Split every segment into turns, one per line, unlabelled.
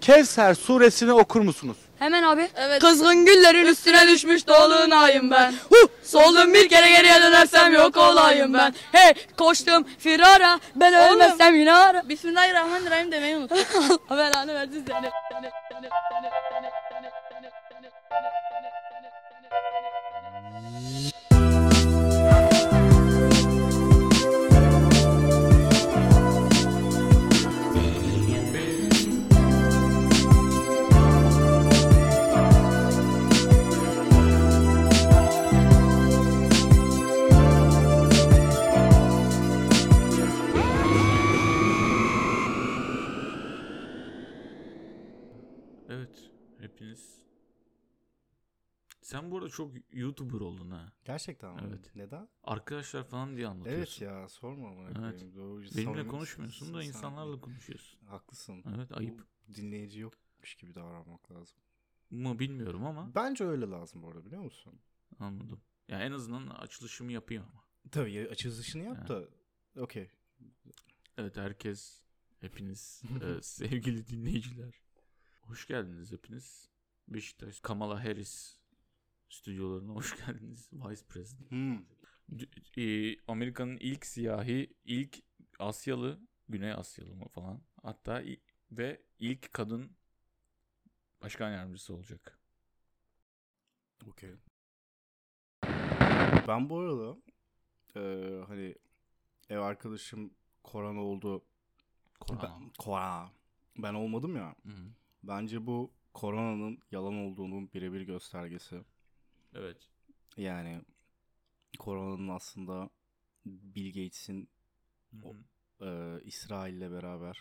Kevser suresini okur musunuz?
Hemen abi.
Evet. Kızgın güllerin üstüne düşmüş dolunayım ben. Huh! Soldum bir kere geriye dönersem yok olayım ben. Hey koştum firara ben ölmezsem yine ara.
Bismillahirrahmanirrahim demeyi unuttum.
Allah belanı versin seni.
Evet. Hepiniz. Sen bu arada çok YouTuber oldun ha.
Gerçekten mi?
Evet.
Neden?
Arkadaşlar falan diye anlatıyorsun.
Evet ya sorma bana.
Evet.
koyayım. Doğru,
Benimle
samimi-
konuşmuyorsun da
samimi-
insanlarla konuşuyorsun.
Haklısın.
Evet ayıp
Bu dinleyici yokmuş gibi davranmak lazım.
mı bilmiyorum ama
Bence öyle lazım bu arada biliyor musun?
anladım. Ya en azından açılışımı yapayım ama.
Tabii ya, açılışını yap da. Okey.
Evet herkes hepiniz e, sevgili dinleyiciler. Hoş geldiniz hepiniz. Beşiktaş Kamala Harris stüdyolarına hoş geldiniz. Vice President.
Hmm.
D- e, Amerika'nın ilk siyahi, ilk Asyalı, Güney Asyalı mı falan. Hatta i- ve ilk kadın başkan yardımcısı olacak.
Okey. Ben bu arada eee, hani ev arkadaşım Koran oldu.
Korona.
Ben, Koran. Ben olmadım ya.
Hı.
Bence bu koronanın yalan olduğunun birebir göstergesi.
Evet.
Yani koronanın aslında Bill Gates'in
Hı hı.
e, İsrail'le beraber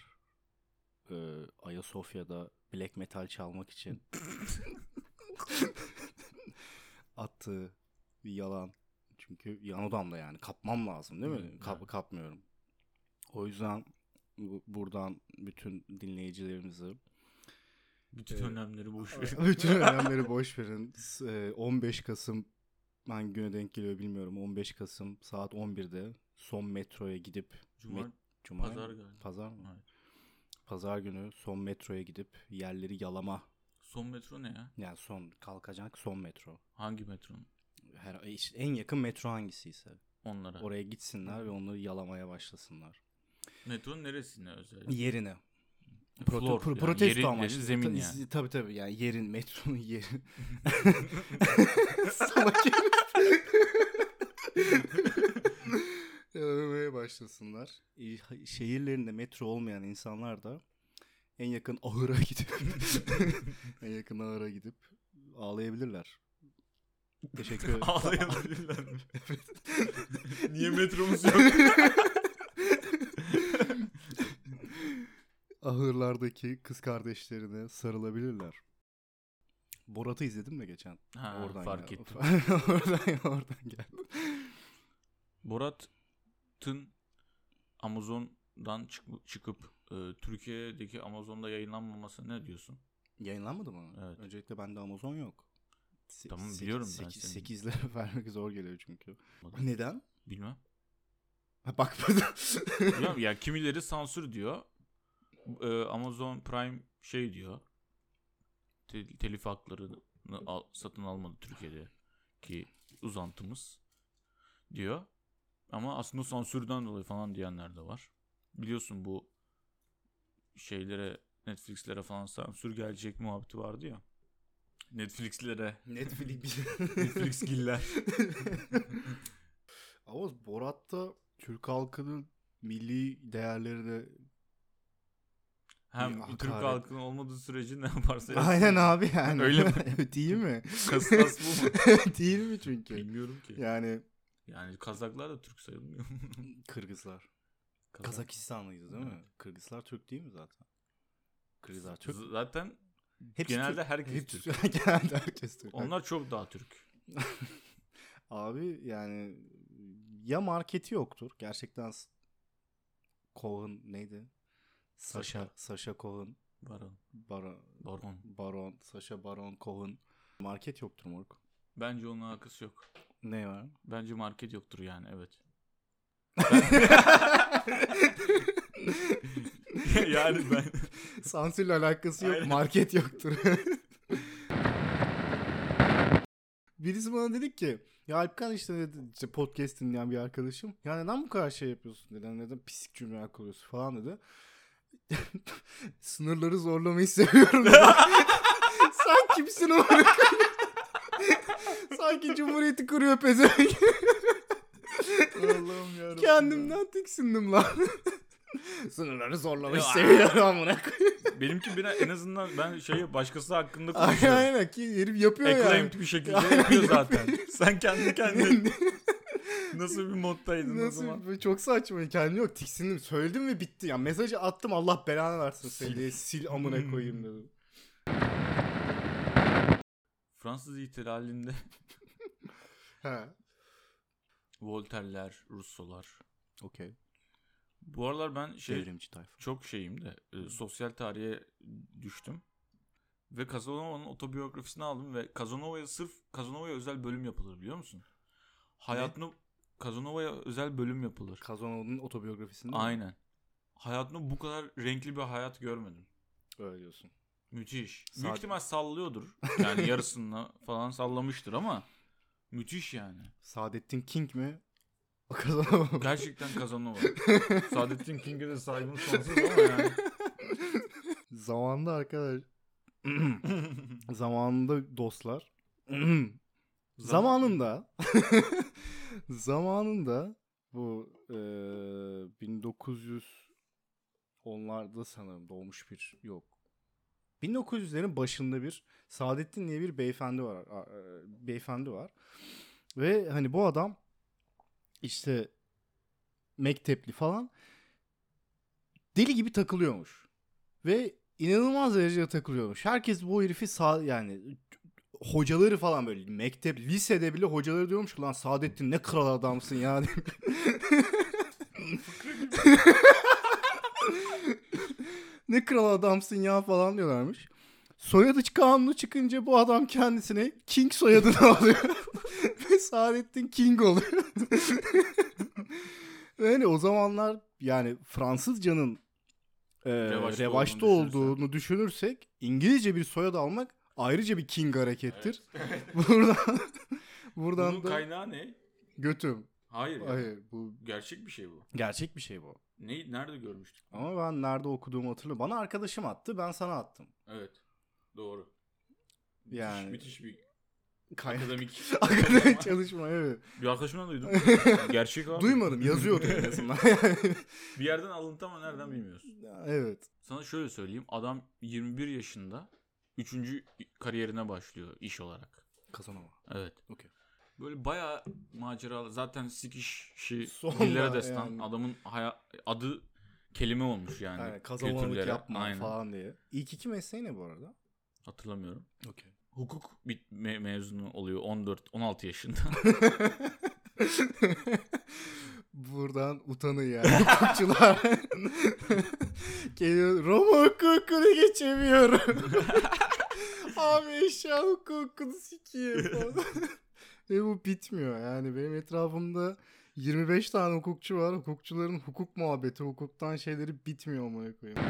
e, Ayasofya'da black metal çalmak için attığı bir yalan. Çünkü yan odamda yani kapmam lazım değil mi?
Evet,
Kap,
evet.
kapmıyorum. O yüzden bu- buradan bütün dinleyicilerimizi
Bütün
Evet.
önemleri boş ver.
bütün önemleri boş verin. S- e, 15 Kasım hangi güne denk geliyor bilmiyorum. 15 Kasım saat 11'de son metroya gidip
Cuma,
Cuma
Pazar galiba.
Pazar mı?
Evet.
Pazar günü son metroya gidip yerleri yalama.
son metro ne ya?
Yani son kalkacak son metro.
Hangi metronun?
Her, işte en yakın metro hangisiyse.
Onlara.
Oraya gitsinler ve onları yalamaya başlasınlar.
Metronun neresine özel?
Yerine. Proto,
Floor,
pro-
yani
protesto
yerin-
amaçlı.
yerin zemin
Ta-
yani.
Tabii tabii yani yerin, metronun yeri. Salak herif. Yalamaya başlasınlar. İ- Şehirlerinde metro olmayan insanlar da en yakın ahıra gidip en yakın ahıra gidip ağlayabilirler. Teşekkür ederim.
Ağlayabilirler mi? Niye metromuz yok?
Ahırlardaki kız kardeşlerine sarılabilirler. Borat'ı izledim de geçen.
Ha, fark
geldi.
ettim.
oradan, oradan geldi.
Borat'ın Amazon'dan çık- çıkıp e, Türkiye'deki Amazon'da yayınlanmaması ne diyorsun?
Yayınlanmadı mı?
Evet.
Öncelikle bende Amazon yok. Se-
Tamam,
sekiz-
biliyorum ben
sekiz-
senin.
Sekizlere vermek zor geliyor çünkü.
Bakın,
Neden?
Bilmem.
Ha, bakmadım.
Bilmem ya kimileri sansür diyor. E, Amazon Prime şey diyor. Te- telif haklarını al- satın almadı Türkiye'de ki uzantımız diyor. Ama aslında sansürden dolayı falan diyenler de var. Biliyorsun bu şeylere Netflix'lere falan sansür gelecek muhabbeti vardı ya. Netflix'lere
Netflix.
Netflix'giller.
Ama Borat'ta Türk halkının milli değerlerine
Hem
Bir hakaret.
Türk halkının olmadığı sürece ne yaparsa yapsın.
Aynen abi yani.
Öyle mi?
Değil mi?
Kastas bu mu?
Değil mi çünkü?
Bilmiyorum ki.
Yani
Yani Kazaklar da Türk sayılmıyor. mu?
Kırgızlar.
Kazak.
Kazakistanlıyız değil mi?
Evet.
Kırgızlar Türk değil mi zaten? Kırgızlar Türk.
Z- Zaten
Hepsi
genelde
Türk.
herkes
Hepsi- genelde herkes Türk.
onlar çok daha Türk.
Abi yani ya marketi yoktur. Gerçekten s- Cohen neydi? Sasha.
Sacha.
Sasha Cohen.
Baron.
Baron.
Baron.
Baron. Sasha Baron Cohen. Market yoktur moruk.
Bence onun alakası yok.
Ne var?
Bence market yoktur yani evet. yani ben
Sansürle alakası yok.
Aynen.
Market yoktur. Birisi bana dedi ki ya Alpkan işte, dedi, işte podcast dinleyen bir arkadaşım. Ya neden bu kadar şey yapıyorsun dedi. "Yani Neden pislik cümleler kuruyorsun falan dedi. Sınırları zorlamayı seviyorum dedi. Sen kimsin oğlum? Sanki cumhuriyeti kuruyor pezevenk.
Allah'ım ya.
Kendimden tiksindim lan. Sınırları zorlamayı
Ya.
seviyorum amına
Benimki biraz en azından ben şeyi başkası hakkında
Aynen
konuşuyorum.
aynen ki herif yapıyor
Acclaimed bir şekilde
Aynen,
yapıyor zaten. Sen kendi kendine nasıl bir moddaydın o
Nasıl
zaman?
böyle çok saçma kendi yok tiksindim söyledim ve bitti ya mesajı attım Allah belanı versin seni diye sil Hmm. amına koyayım dedim.
Fransız ihtilalinde
He.
Voltaire'ler, Russolar.
Okey.
Bu aralar ben şey
tayfa.
çok şeyim de e, sosyal tarihe düştüm. Ve Casanova'nın otobiyografisini aldım ve Casanova'ya sırf Casanova'ya özel bölüm yapılır biliyor musun? Hayatını Casanova'ya özel bölüm yapılır.
Kazanova'nın otobiyografisinde mi?
Aynen. Hayatımda bu kadar renkli bir hayat görmedim.
öyle diyorsun.
Müthiş. Büyük
Sadece-
ihtimal sallıyordur. Yani yarısını falan sallamıştır ama müthiş yani.
Saadettin King mi? O Kazanova mı?
Gerçekten Casanova. Saadettin King'e de saygım sonsuz ama yani.
Zamanında arkadaş. Zamanında dostlar. Zamanında zamanında bu eee 1900 onlarda sanırım doğmuş bir yok. 1900'lerin başında bir Saadettin diye bir beyefendi var. a- eee, Beyefendi var. Ve hani bu adam işte mektepli falan deli gibi takılıyormuş. Ve inanılmaz derecede takılıyormuş. Herkes bu herifi sağ yani hocaları falan böyle mektep lisede bile hocaları diyormuş ki lan Saadettin ne kral adamsın ya. ne kral adamsın ya falan diyorlarmış. Soyadı kanunu çıkınca bu adam kendisine King soyadını alıyor. Ve Saadettin King oluyor. Öyle o zamanlar yani Fransızcanın e,
Revaçta
revaçta,
olduğunu düşünürsek.
olduğunu düşünürsek İngilizce bir soyad almak ayrıca bir King harekettir. buradan buradan
Bunun
da
kaynağı ne?
götüm.
Hayır. ya.
Hayır bu
Gerçek bir şey bu.
gerçek bir şey bu.
Ne, nerede görmüştük?
Ama ben nerede okuduğumu hatırlıyorum. Bana arkadaşım attı, ben sana attım.
Evet. Doğru.
Yani
Müthiş bir
kaynak.
akademik.
Akademik çalışma evet.
Bir arkadaşımdan duydum. Gerçek abi.
Duymadım yazıyordu en azından.
Bir yerden alıntı ama nereden bilmiyorsun.
evet.
Sana şöyle söyleyeyim. Adam 21 yaşında 3. kariyerine başlıyor iş olarak.
Kazanama.
Evet.
Okey.
Böyle bayağı maceralı. Zaten sikişi
Sonra
dillere destan.
yani.
Adamın haya- adı kelime olmuş yani.
Yani kazanamalık
kültürlere.
yapma
Aynen.
falan diye. İlk iki mesleği ne bu arada?
Hatırlamıyorum.
Okey.
Hukuk bit me- mezunu oluyor 14 16 yaşında.
Buradan utanın yani hukukçular. Geliyor Roma hukukunu geçemiyorum. Abi eşya hukukunu sikeyim falan. Ve bu bitmiyor yani benim etrafımda 25 tane hukukçu var. Hukukçuların hukuk muhabbeti, hukuktan şeyleri bitmiyor amına koyayım.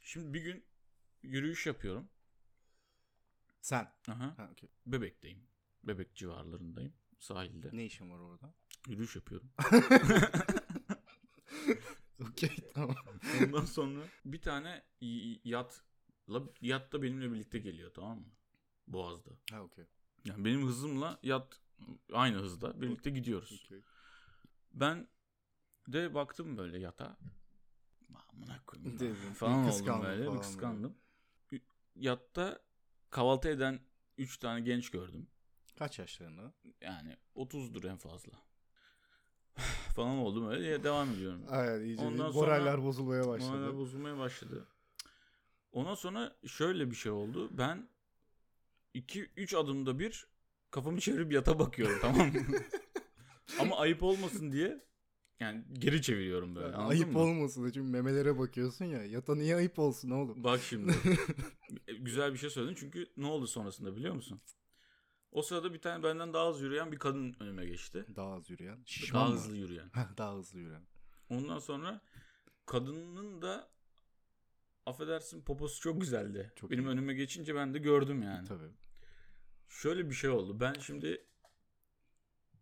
Şimdi bir gün yürüyüş yapıyorum.
Sen.
Aha.
Ha, okey.
Bebekteyim. Bebek civarlarındayım. Sahilde.
Ne işin var orada?
Yürüyüş yapıyorum.
Okey tamam.
Ondan sonra bir tane y- yatla yat da benimle birlikte geliyor tamam mı? Boğaz'da.
Ha okey.
Yani benim hızımla yat aynı hızda birlikte gidiyoruz.
Okey.
Ben de baktım böyle yata. Amına koyayım. ya
Dedin,
Falan
bir
oldum
kıskandın
böyle.
falan
bir
böyle.
kıskandım. Yatta kahvaltı eden 3 tane genç gördüm.
Kaç yaşlarında?
Yani 30'dur en fazla. falan oldum öyle ya devam ediyorum.
Aynen iyice
Ondan
bir
sonra-
moraller bozulmaya başladı.
Moraller bozulmaya başladı. Ondan sonra şöyle bir şey oldu. Ben 2 3 adımda bir kafamı çevirip yata bakıyorum tamam mı? Ama ayıp olmasın diye yani geri çeviriyorum böyle. anladın
ayıp
mı?
olmasın da çünkü memelere bakıyorsun ya. Yata niye ayıp olsun oğlum?
Bak şimdi. Güzel bir şey söyledin çünkü ne oldu sonrasında biliyor musun? O sırada bir tane benden daha hızlı yürüyen bir kadın önüme geçti.
Daha hızlı yürüyen. Şişman
Daha
mı?
hızlı yürüyen.
Heh, daha hızlı yürüyen.
Ondan sonra kadının da affedersin poposu çok güzeldi.
Çok
Benim
iyi.
önüme geçince ben de gördüm yani.
Tabii.
Şöyle bir şey oldu. Ben şimdi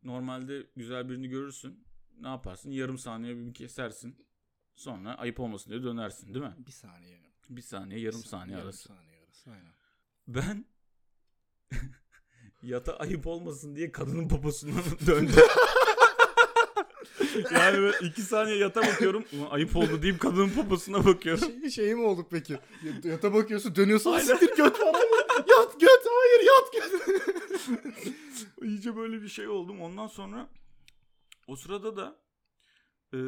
normalde güzel birini görürsün. Ne yaparsın? Yarım saniye bir kesersin. Sonra ayıp olmasın diye dönersin değil mi?
Bir saniye. Yarım
Bir saniye yarım saniye arası.
Yarım saniye arası. Aynen.
Ben yata ayıp olmasın diye kadının poposundan döndüm. yani ben iki saniye yata bakıyorum. "Ulan ayıp oldu deyip kadının poposuna bakıyorum.
Şey, şey mi olduk peki? Y- Yata bakıyorsun dönüyorsun
Aynen.
siktir göt falan. yat göt hayır yat göt.
İyice böyle bir şey oldum. Ondan sonra o sırada da e,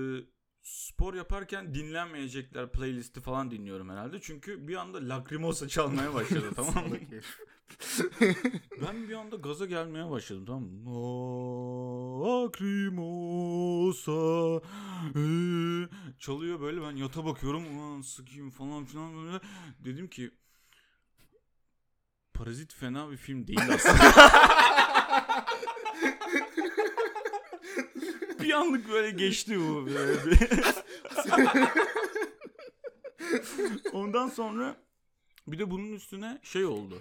spor yaparken dinlenmeyecekler playlisti falan dinliyorum herhalde. Çünkü bir anda Lacrimosa çalmaya başladı tamam mı? Ben bir anda gaza gelmeye başladım tamam mı? Lacrimosa eee. çalıyor böyle ben yata bakıyorum ulan sıkayım falan filan böyle dedim ki Parazit fena bir film değil aslında. bir anlık böyle geçti bu. böyle bir- Ondan sonra bir de bunun üstüne şey oldu.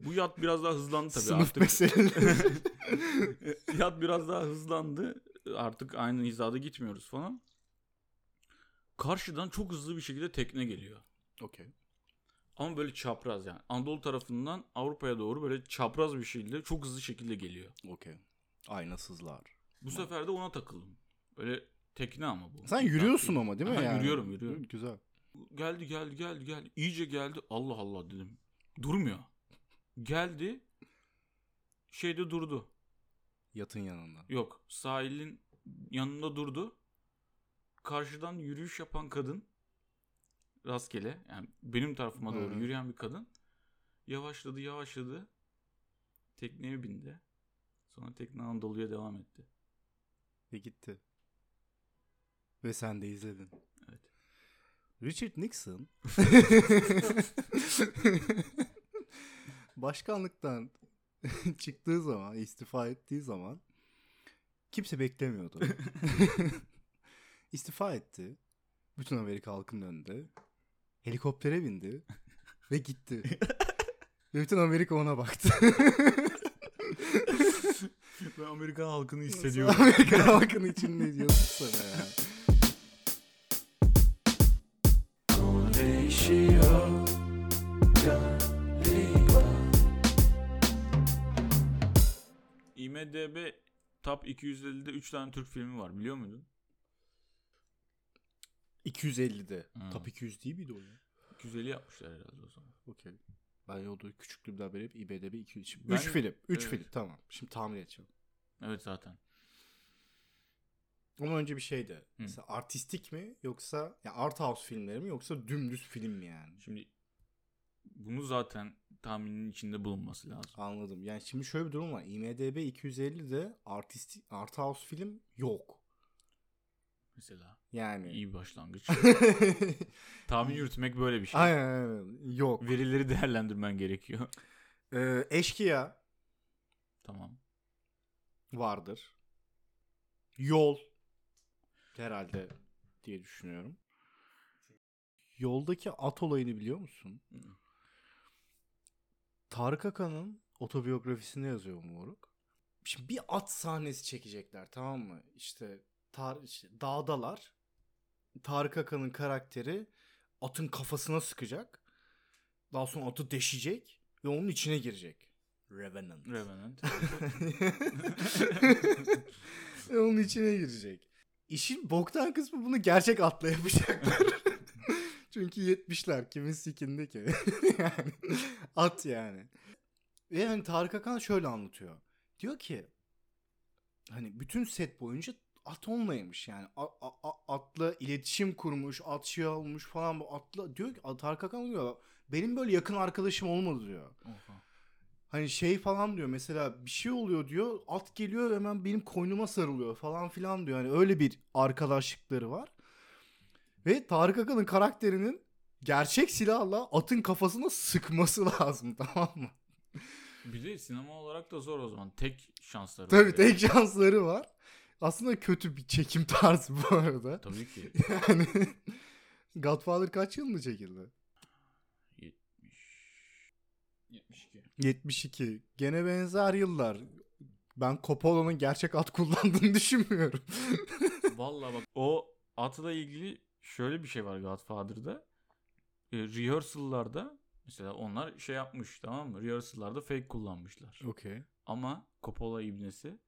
Bu yat biraz daha hızlandı tabii
Sınıf
artık.
meseleleri.
Yat biraz daha hızlandı. Artık aynı hizada gitmiyoruz falan. Karşıdan çok hızlı bir şekilde tekne geliyor.
Okey.
Ama böyle çapraz yani. Anadolu tarafından Avrupa'ya doğru böyle çapraz bir şekilde çok hızlı şekilde geliyor.
Okey. Aynasızlar.
Bu sefer de ona takıldım. Böyle tekne ama bu.
Sen yürüyorsun
Taktik.
ama değil mi
Aha,
yani?
Yürüyorum yürüyorum.
Güzel.
Geldi geldi geldi geldi. İyice geldi. Allah Allah dedim. Durmuyor. Geldi. Şeyde durdu.
Yatın yanında.
Yok. Sahilin yanında durdu. Karşıdan yürüyüş yapan kadın rastgele yani benim tarafıma doğru
Hı hı.
yürüyen bir kadın yavaşladı yavaşladı tekneye bindi. Sonra tekne Anadolu'ya devam etti.
Ve gitti. Ve sen de izledin.
Evet.
Richard Nixon başkanlıktan çıktığı zaman, istifa ettiği zaman kimse beklemiyordu. istifa etti. Bütün Amerika halkının önünde. Helikoptere bindi ve gitti. ve bütün Amerika ona baktı.
Ben Amerikan halkını
Amerika halkının içinde diyorsun sana ya.
IMDB Top 250'de 3 tane Türk filmi var biliyor muydun?
250'de.
Hmm.
Top 200 değil miydi o ya?
250 yapmışlar herhalde o zaman.
Okey. Ben yolda küçüklüğümde haber hep IBDB 200. Şimdi
Ben-
3 film. 3
Evet.
film tamam. Şimdi tahmin edeceğim.
Evet zaten.
Ama önce bir şey de. Mesela artistik mi yoksa ya art house filmleri mi yoksa dümdüz film mi yani?
Şimdi bunu zaten tahminin içinde bulunması lazım.
Anladım. Yani şimdi şöyle bir durum var. IMDB 250'de artistik art house film yok.
Mesela
Yani.
iyi bir başlangıç. Tahmin yürütmek böyle bir şey.
aynen aynen. Yok.
Verileri değerlendirmen gerekiyor.
Ee, eşkıya
tamam.
vardır. Yol herhalde diye düşünüyorum. Yoldaki at olayını biliyor musun?
Hı.
Tarık Akan'ın otobiyografisinde yazıyor bu moruk. Şimdi bir at sahnesi çekecekler tamam mı? İşte, tar işte dağdalar. Tarık Akan'ın karakteri atın kafasına sıkacak. Daha sonra atı deşecek ve onun içine girecek. Revenant.
Revenant.
Ve onun içine girecek. İşin boktan kısmı bunu gerçek atla yapacaklar. Çünkü 70'ler kimin sikinde ki? yani, at yani. Ve hani Tarık Akan şöyle anlatıyor. Diyor ki hani bütün set boyunca at onlaymış yani A- a- a- atla iletişim kurmuş at şey olmuş falan bu atla diyor ki Tarık Akan diyor benim böyle yakın arkadaşım olmadı diyor.
Oha.
Hani şey falan diyor mesela bir şey oluyor diyor at geliyor hemen benim koynuma sarılıyor falan filan diyor. Hani öyle bir arkadaşlıkları var. Ve Tarık Akan'ın karakterinin gerçek silahla atın kafasına sıkması lazım tamam mı?
bir de sinema olarak da zor o zaman. Tek şansları.
Tabii
var.
tek şansları var. Aslında kötü bir çekim tarzı bu arada.
Tabii ki.
Yani Hani Godfather kaç yılında çekildi?
72.
72. Gene benzer yıllar. Ben Coppola'nın gerçek at kullandığını düşünmüyorum.
Vallahi bak o atla ilgili şöyle bir şey var Godfather'da. E, rehearsal'larda mesela onlar şey yapmış tamam mı? Rehearsal'larda fake kullanmışlar.
Okey.
Ama Coppola ibnesi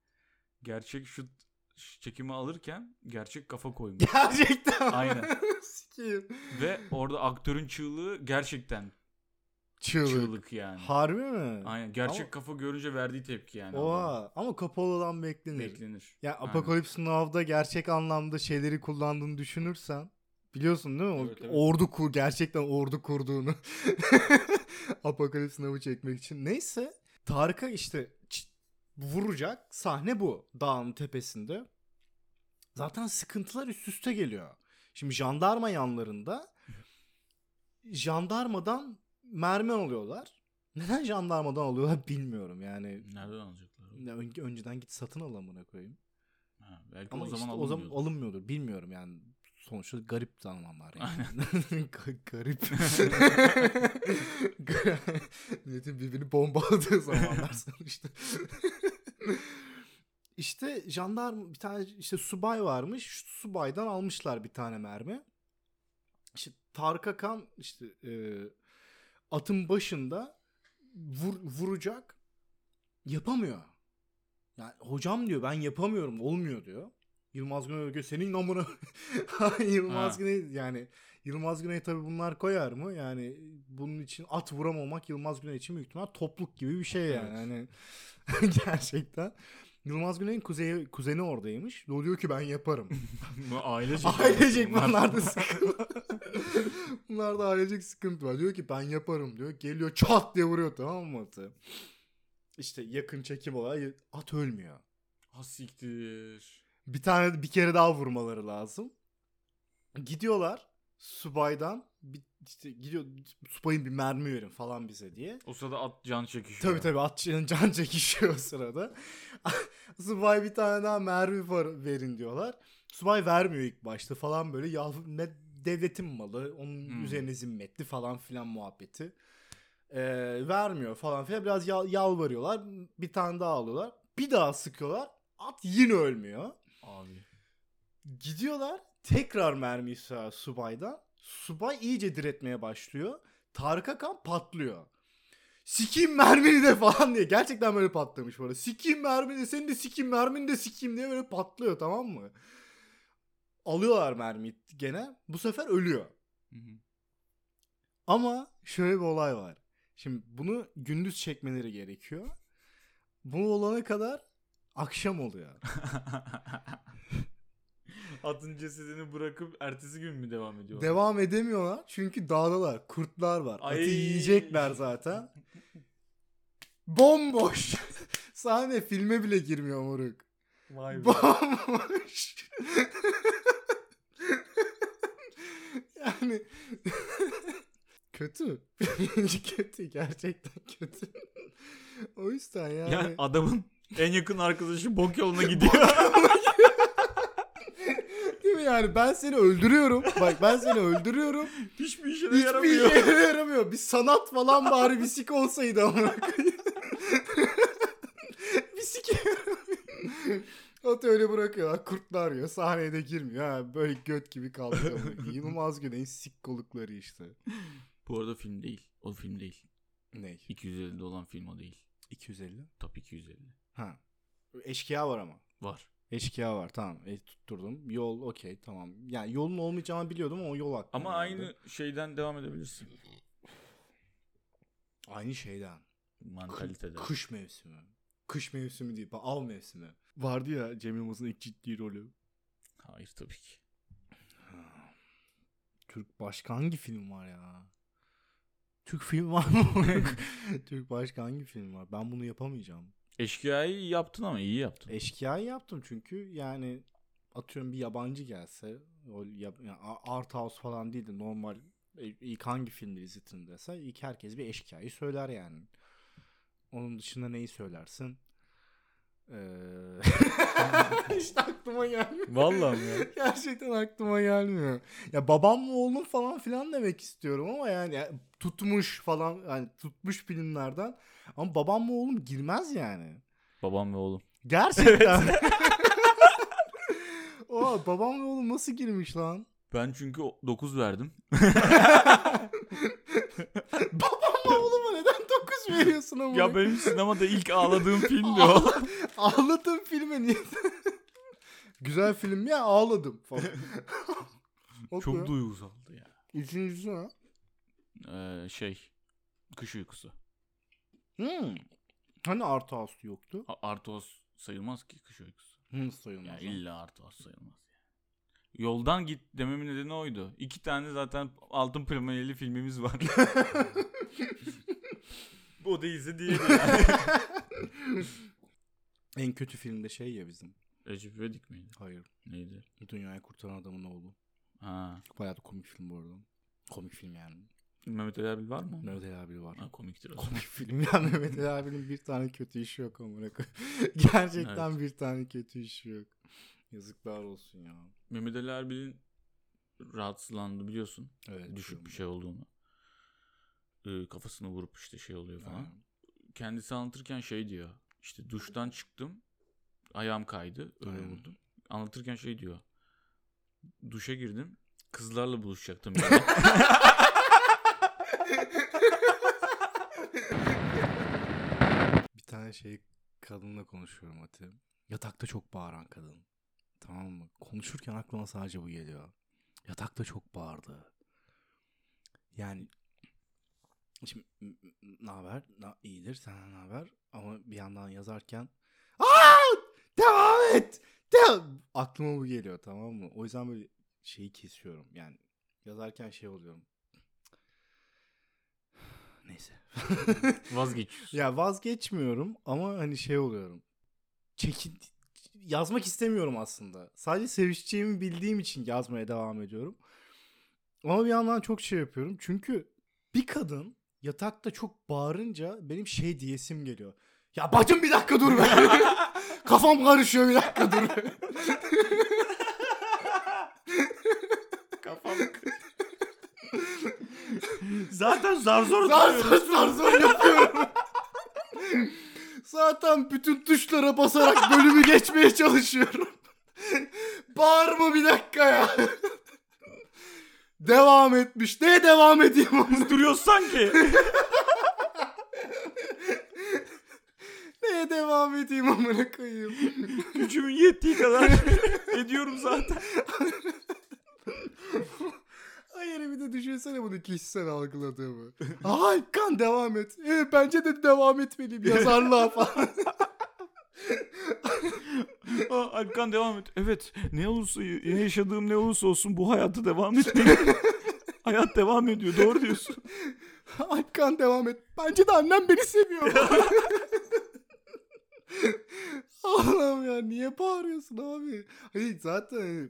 gerçek şut ş- çekimi alırken gerçek kafa koymuş.
Gerçekten.
Aynen.
Sikeyim.
Ve orada aktörün çığlığı gerçekten
Çığlık.
çığlık yani.
Harbi mi?
Aynen gerçek
Ama-
kafa görünce verdiği tepki yani. Adamın.
Oha. Ama Coppola'dan beklenir.
Beklenir.
Ya
Aynen.
Apocalypse Now'da gerçek anlamda şeyleri kullandığını düşünürsen biliyorsun değil mi? O
Evet, evet.
Ordu kur gerçekten ordu kurduğunu. Apocalypse Now'ı çekmek için. Neyse Tarık'a işte çit- vuracak sahne bu dağın tepesinde. Zaten sıkıntılar üst üste geliyor. Şimdi jandarma yanlarında jandarmadan mermi alıyorlar. Neden jandarmadan alıyorlar bilmiyorum yani.
Nereden alacaklar?
Ya ön- önceden git satın al amına koyayım.
Ha, belki
Ama
o zaman
işte o zaman alınmıyordur. Bilmiyorum yani. Sonuçta garip zamanlar yani. Ga- garip. Gar- Milletin birbirini bombaladığı zamanlar sonuçta. işte jandarma bir tane işte subay varmış. Şu subaydan almışlar bir tane mermi. İşte Tarık Akan işte e, atın başında vur- vuracak yapamıyor. Yani hocam diyor ben yapamıyorum olmuyor diyor. Yılmaz Güney diyor senin namına. Yılmaz
Ha.
Güney yani Yılmaz Güney tabii bunlar koyar mı? Yani bunun için at vuramamak Yılmaz Güney için büyük ihtimal topluk gibi bir şey yani. Hani gerçekten. Yılmaz Güney'in kuzeyi, kuzeni oradaymış. O diyor ki ben yaparım.
Bu ailecek.
Ailecek
Bunlar-
bunlarda sıkıntı. Bunlarda ailecek sıkıntı var. Diyor ki ben yaparım diyor. Geliyor çat diye vuruyor tamam mı atı? İşte yakın çekim olay at ölmüyor.
Ha siktir.
Bir tane bir kere daha vurmaları lazım. Gidiyorlar subaydan bir, işte gidiyor subayın bir mermi verin falan bize diye.
O sırada at can çekişiyor.
Tabii tabii atçının can çekişiyor o sırada. Subay bir tane daha mermi var, verin diyorlar. Subay vermiyor ilk başta falan böyle. Ya ne devletin malı onun
Hmm.
üzerine zimmetli falan filan muhabbeti. Ee, vermiyor falan filan. Biraz yal- yalvarıyorlar. Bir tane daha alıyorlar. Bir daha sıkıyorlar. At yine ölmüyor.
Abi.
Gidiyorlar tekrar mermi istiyorlar subaydan. Subay iyice diretmeye başlıyor. Tarık Akan patlıyor. Sikiyim mermini de falan diye. Gerçekten böyle patlamış böyle. Sikiyim mermini de senin de sikiyim mermini de sikiyim diye böyle patlıyor tamam mı? Alıyorlar mermiyi gene. Bu sefer ölüyor.
Hı-hı.
Ama şöyle bir olay var. Şimdi bunu gündüz çekmeleri gerekiyor. Bu olana kadar akşam oluyor.
Atın cesedini bırakıp ertesi gün mü devam ediyor?
Devam edemiyorlar çünkü dağdalar, kurtlar var.
Ay.
Atı yiyecekler zaten. Bomboş. Sahne filme bile girmiyor moruk.
Vay be.
Bomboş. yani kötü. kötü gerçekten kötü. o yüzden yani.
Yani adamın en yakın arkadaşı bok yoluna gidiyor.
Değil mi yani ben seni öldürüyorum. Bak ben seni öldürüyorum.
Hiçbir işe de
Hiçbir
yaramıyor.
işe yaramıyor. Bir sanat falan bari bir sik olsaydı ama. bir sik yaramıyor. Atı öyle bırakıyorlar. Kurtlar yiyor. Sahneye de girmiyor. Ha, böyle göt gibi kalkıyor. Yılmaz Güney'in sik kolukları işte.
Bu arada film değil. O film değil.
Ney?
250'de olan film o değil.
250.
Top 250.
Ha. Eşkıya var ama.
Var.
Eşkıya var tamam. E, tutturdum. Yol okey tamam. Yani yolun olmayacağını biliyordum ama o yol aklıma
Ama
geldi.
aynı şeyden devam edebilirsin.
Aynı şeyden.
Mantalitede.
Kış mevsimi. Kış mevsimi değil, ba- av mevsimi. Vardı ya Cem Yılmaz'ın ilk ciddi rolü.
Hayır tabii ki.
Türk başka hangi film var ya? Türk film var mı? Türk başka hangi film var? Ben bunu yapamayacağım.
Eşkıya'yı yaptın ama iyi yaptın.
Eşkıya'yı yaptım çünkü yani atıyorum bir yabancı gelse o yab- yani a- art house falan değil de normal e, ilk hangi filmi izletin dese ilk herkes bir eşkıya'yı söyler yani. Onun dışında neyi söylersin? Ee, işte aklıma gelmiyor.
Vallahi mi ya?
Gerçekten aklıma gelmiyor. Ya babam oğlum falan filan demek istiyorum ama yani ya tutmuş falan yani tutmuş filmlerden. Ama babam oğlum girmez yani.
Babam ve oğlum.
Gerçekten. Oha babam ve oğlum nasıl girmiş lan?
Ben çünkü 9 verdim.
babam ve oğluma neden 9 veriyorsun ama?
ya benim sinemada ilk ağladığım filmdi o.
Ağladım filme niye? Güzel film ya ağladım falan. Çok
Çok duygusaldı ya.
Üçüncüsü ha?
Ee, şey. Kış uykusu.
Hmm. Hani Art House yoktu?
A- Artos sayılmaz ki kış uykusu.
Hı sayılmaz.
Ya
ha.
illa Artos sayılmaz. yani. Yoldan git dememin nedeni oydu. İki tane zaten altın primerli filmimiz var. o değilse diğeri yani.
En kötü filmde şey ya bizim.
Recep İvedik miydi?
Hayır.
Neydi?
Dünyayı kurtaran adamın oğlu.
Ha.
Bayağı da komik film bu arada. Komik film yani.
Mehmet Ali Erbil var mı?
Mehmet Ali abi var.
Ha, komiktir o.
komik film. Yani Mehmet Ali abinin bir tane kötü işi yok amına koyayım. Gerçekten bir tane kötü işi yok. Yazıklar olsun ya.
Mehmet Ali Erbil'in rahatsızlandı biliyorsun.
Evet.
düşük bir şey olduğunu. Ee, kafasını vurup işte şey oluyor falan.
Aynen.
Kendisi anlatırken şey diyor. İşte duştan çıktım. Ayağım kaydı. Öyle
Aynen.
vurdum. Anlatırken şey diyor. Duşa girdim. Kızlarla buluşacaktım. yani.
Bir tane şey kadınla konuşuyorum Ati. Yatakta çok bağıran kadın. Tamam mı? Konuşurken aklıma sadece bu geliyor. Yatakta çok bağırdı. Yani şimdi ne haber? Na- iyidir senden ne haber? Ama bir yandan yazarken Aa! Devam et! Devam! Aklıma bu geliyor tamam mı? O yüzden böyle şeyi kesiyorum. Yani yazarken şey oluyorum. Neyse.
Vazgeçiyorsun.
Ya vazgeçmiyorum ama hani şey oluyorum. Çekin yazmak istemiyorum aslında. Sadece sevişeceğimi bildiğim için yazmaya devam ediyorum. Ama bir yandan çok şey yapıyorum. Çünkü bir kadın yatakta çok bağırınca benim şey diyesim geliyor. Ya bacım bir dakika dur be. Kafam karışıyor bir dakika dur.
Zaten zar zor
Zar
duruyorum.
zor zar zor yapıyorum. Zaten bütün tuşlara basarak bölümü geçmeye çalışıyorum. Bağırma bir dakika ya. devam etmiş. Neye devam edeyim onu?
Duruyoruz sanki.
Neye devam edeyim amına koyayım?
Gücümün yettiği kadar ediyorum zaten.
Hayır bir de düşünsene bunu kişisel algıladığımı. Hakan devam et. Ee, bence de devam etmeliyim yazarlığa falan.
Aa, Alkan devam et. Evet ne olursa ne yaşadığım ne olursa olsun bu hayatı devam etmeyeyim. Hayat devam ediyor doğru diyorsun.
Alpkan devam et. Bence de annem beni seviyor. Allah'ım ya niye bağırıyorsun abi? Hayır zaten hani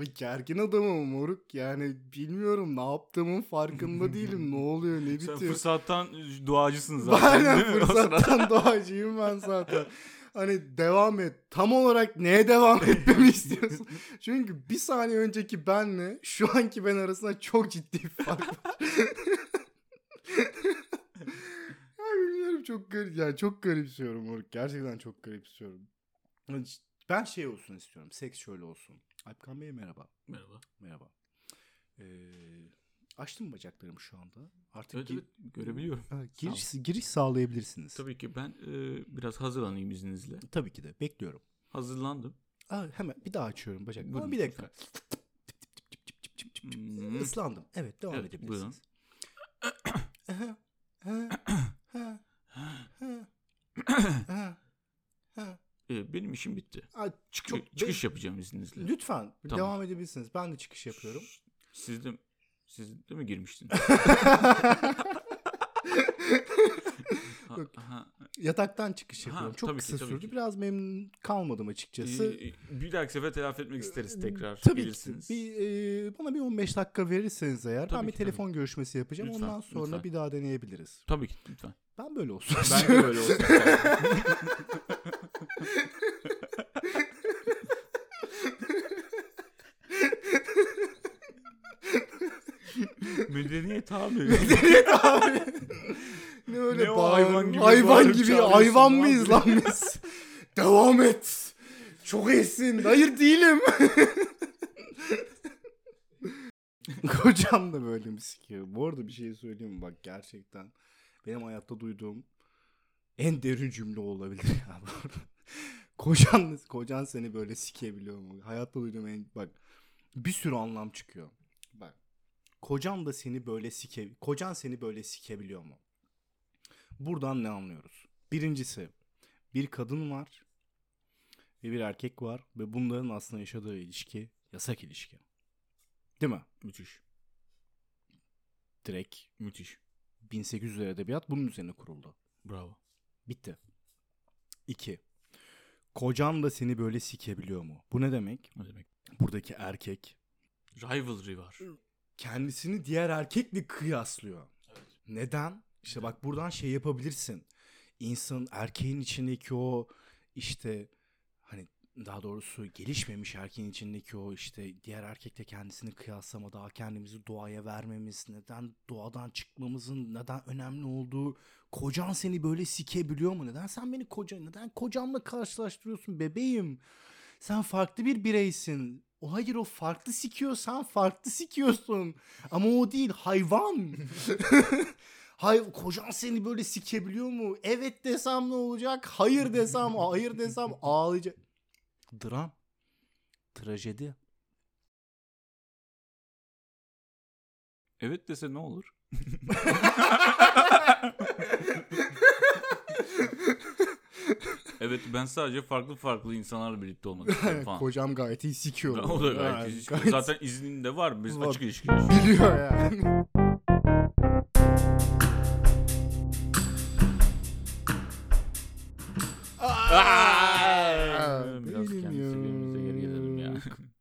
bir gergin adamım moruk yani bilmiyorum ne yaptığımın farkında değilim ne oluyor ne
Sen
bitiyor.
fırsattan duacısın zaten
Aynen,
değil mi? O sırada?
fırsattan doğacıyım ben zaten. Hani devam et. Tam olarak neye devam etmemi istiyorsun? Çünkü bir saniye önceki benle şu anki ben arasında çok ciddi bir fark var. ya bilmiyorum çok garip. Yani çok garipsiyorum Oruk. Gerçekten çok garipsiyorum. Hani ş- Ben şey olsun istiyorum. Seks şöyle olsun. Alpkan Bey merhaba.
Merhaba.
Merhaba. Ee, açtım mı bacaklarımı şu anda? Artık
Evet
gi-
evet görebiliyorum.
Ha, giriş, giriş sağlayabilirsiniz.
Tabii ki ben e, biraz hazırlanayım izninizle.
Tabii ki de bekliyorum.
Hazırlandım.
Aa, hemen bir daha açıyorum bacak.
Buyurun
Ama bir dakika.
Hmm.
Islandım. Evet devam
Evet,
edebilirsiniz. Aha, ha, ha, ha, ha, ha.
E, benim işim bitti.
Aa,
Çıkı-
Çok-
çıkış yapacağım izninizle.
Lütfen
Tamam.
devam edebilirsiniz. Ben de çıkış yapıyorum.
Siz de, siz de mi girmiştiniz? Ha- aha.
yataktan çıkış
Ha,
yapıyorum. Çok
tabii ki,
kısa
tabii
sürdü.
ki.
Biraz memnun kalmadım açıkçası.
Ee, bir dahaki sefer telafi etmek isteriz tekrar.
Ee, Tabii
Gelirsiniz.
ki. Bir, e, bana bir 15 dakika verirseniz eğer
Tabii
ben bir
ki,
telefon görüşmesi yapacağım.
Lütfen,
Ondan sonra
lütfen.
bir daha deneyebiliriz.
Tabii ki lütfen.
Ben böyle olsun.
Ben de böyle olsun.
Medeniyet abi.
ne öyle
Ne o
bağır-
hayvan gibi
hayvan
bağırıp
gibi
çağırıyorsun
hayvan
lan?
mıyız lan biz? Devam et. Çok iyisin. Hayır değilim. Kocam da böyle mi sikiyor? Bu arada bir şey söyleyeyim mi? Bak gerçekten benim hayatta duyduğum en derin cümle olabilir ya. bu. kocan, kocan seni böyle sikebiliyor mu? Hayatta duyduğum en... Bak bir sürü anlam çıkıyor. Bak kocan da seni böyle sike... Kocan seni böyle sikebiliyor mu? Buradan ne anlıyoruz? Birincisi bir kadın var ve bir erkek var ve bunların aslında yaşadığı ilişki yasak ilişki. Değil mi?
müthiş.
Direkt
Müthiş.
1800'ler edebiyat bunun üzerine kuruldu.
Bravo.
Bitti. 2. Kocan da seni böyle sikebiliyor mu? Bu ne demek?
Ne demek?
Buradaki erkek
Rivalry var.
kendisini diğer erkekle kıyaslıyor. Neden? İşte bak buradan şey yapabilirsin. İnsanın erkeğin içindeki o işte hani daha doğrusu gelişmemiş erkeğin içindeki o işte diğer erkekle kendisini kıyaslama daha kendimizi doğaya vermemiz neden doğadan çıkmamızın neden önemli olduğu kocan seni böyle sikebiliyor mu neden sen beni koca neden kocamla karşılaştırıyorsun bebeğim sen farklı bir bireysin. O hayır o farklı sikiyor sen farklı sikiyorsun. Ama o değil hayvan. Hay kocan seni böyle sikebiliyor mu? Evet desem ne olacak? Hayır desem, hayır desem ağlayacak. Dram. Trajedi.
Evet dese ne olur? evet ben sadece farklı farklı insanlarla birlikte olmak istiyorum falan.
Kocam gayet iyi sikiyor.
o da gayet
Yani
ilginç. Zaten izninde var. Biz
Var.
açık ilişkiyiz.
biliyor yani.
Aa!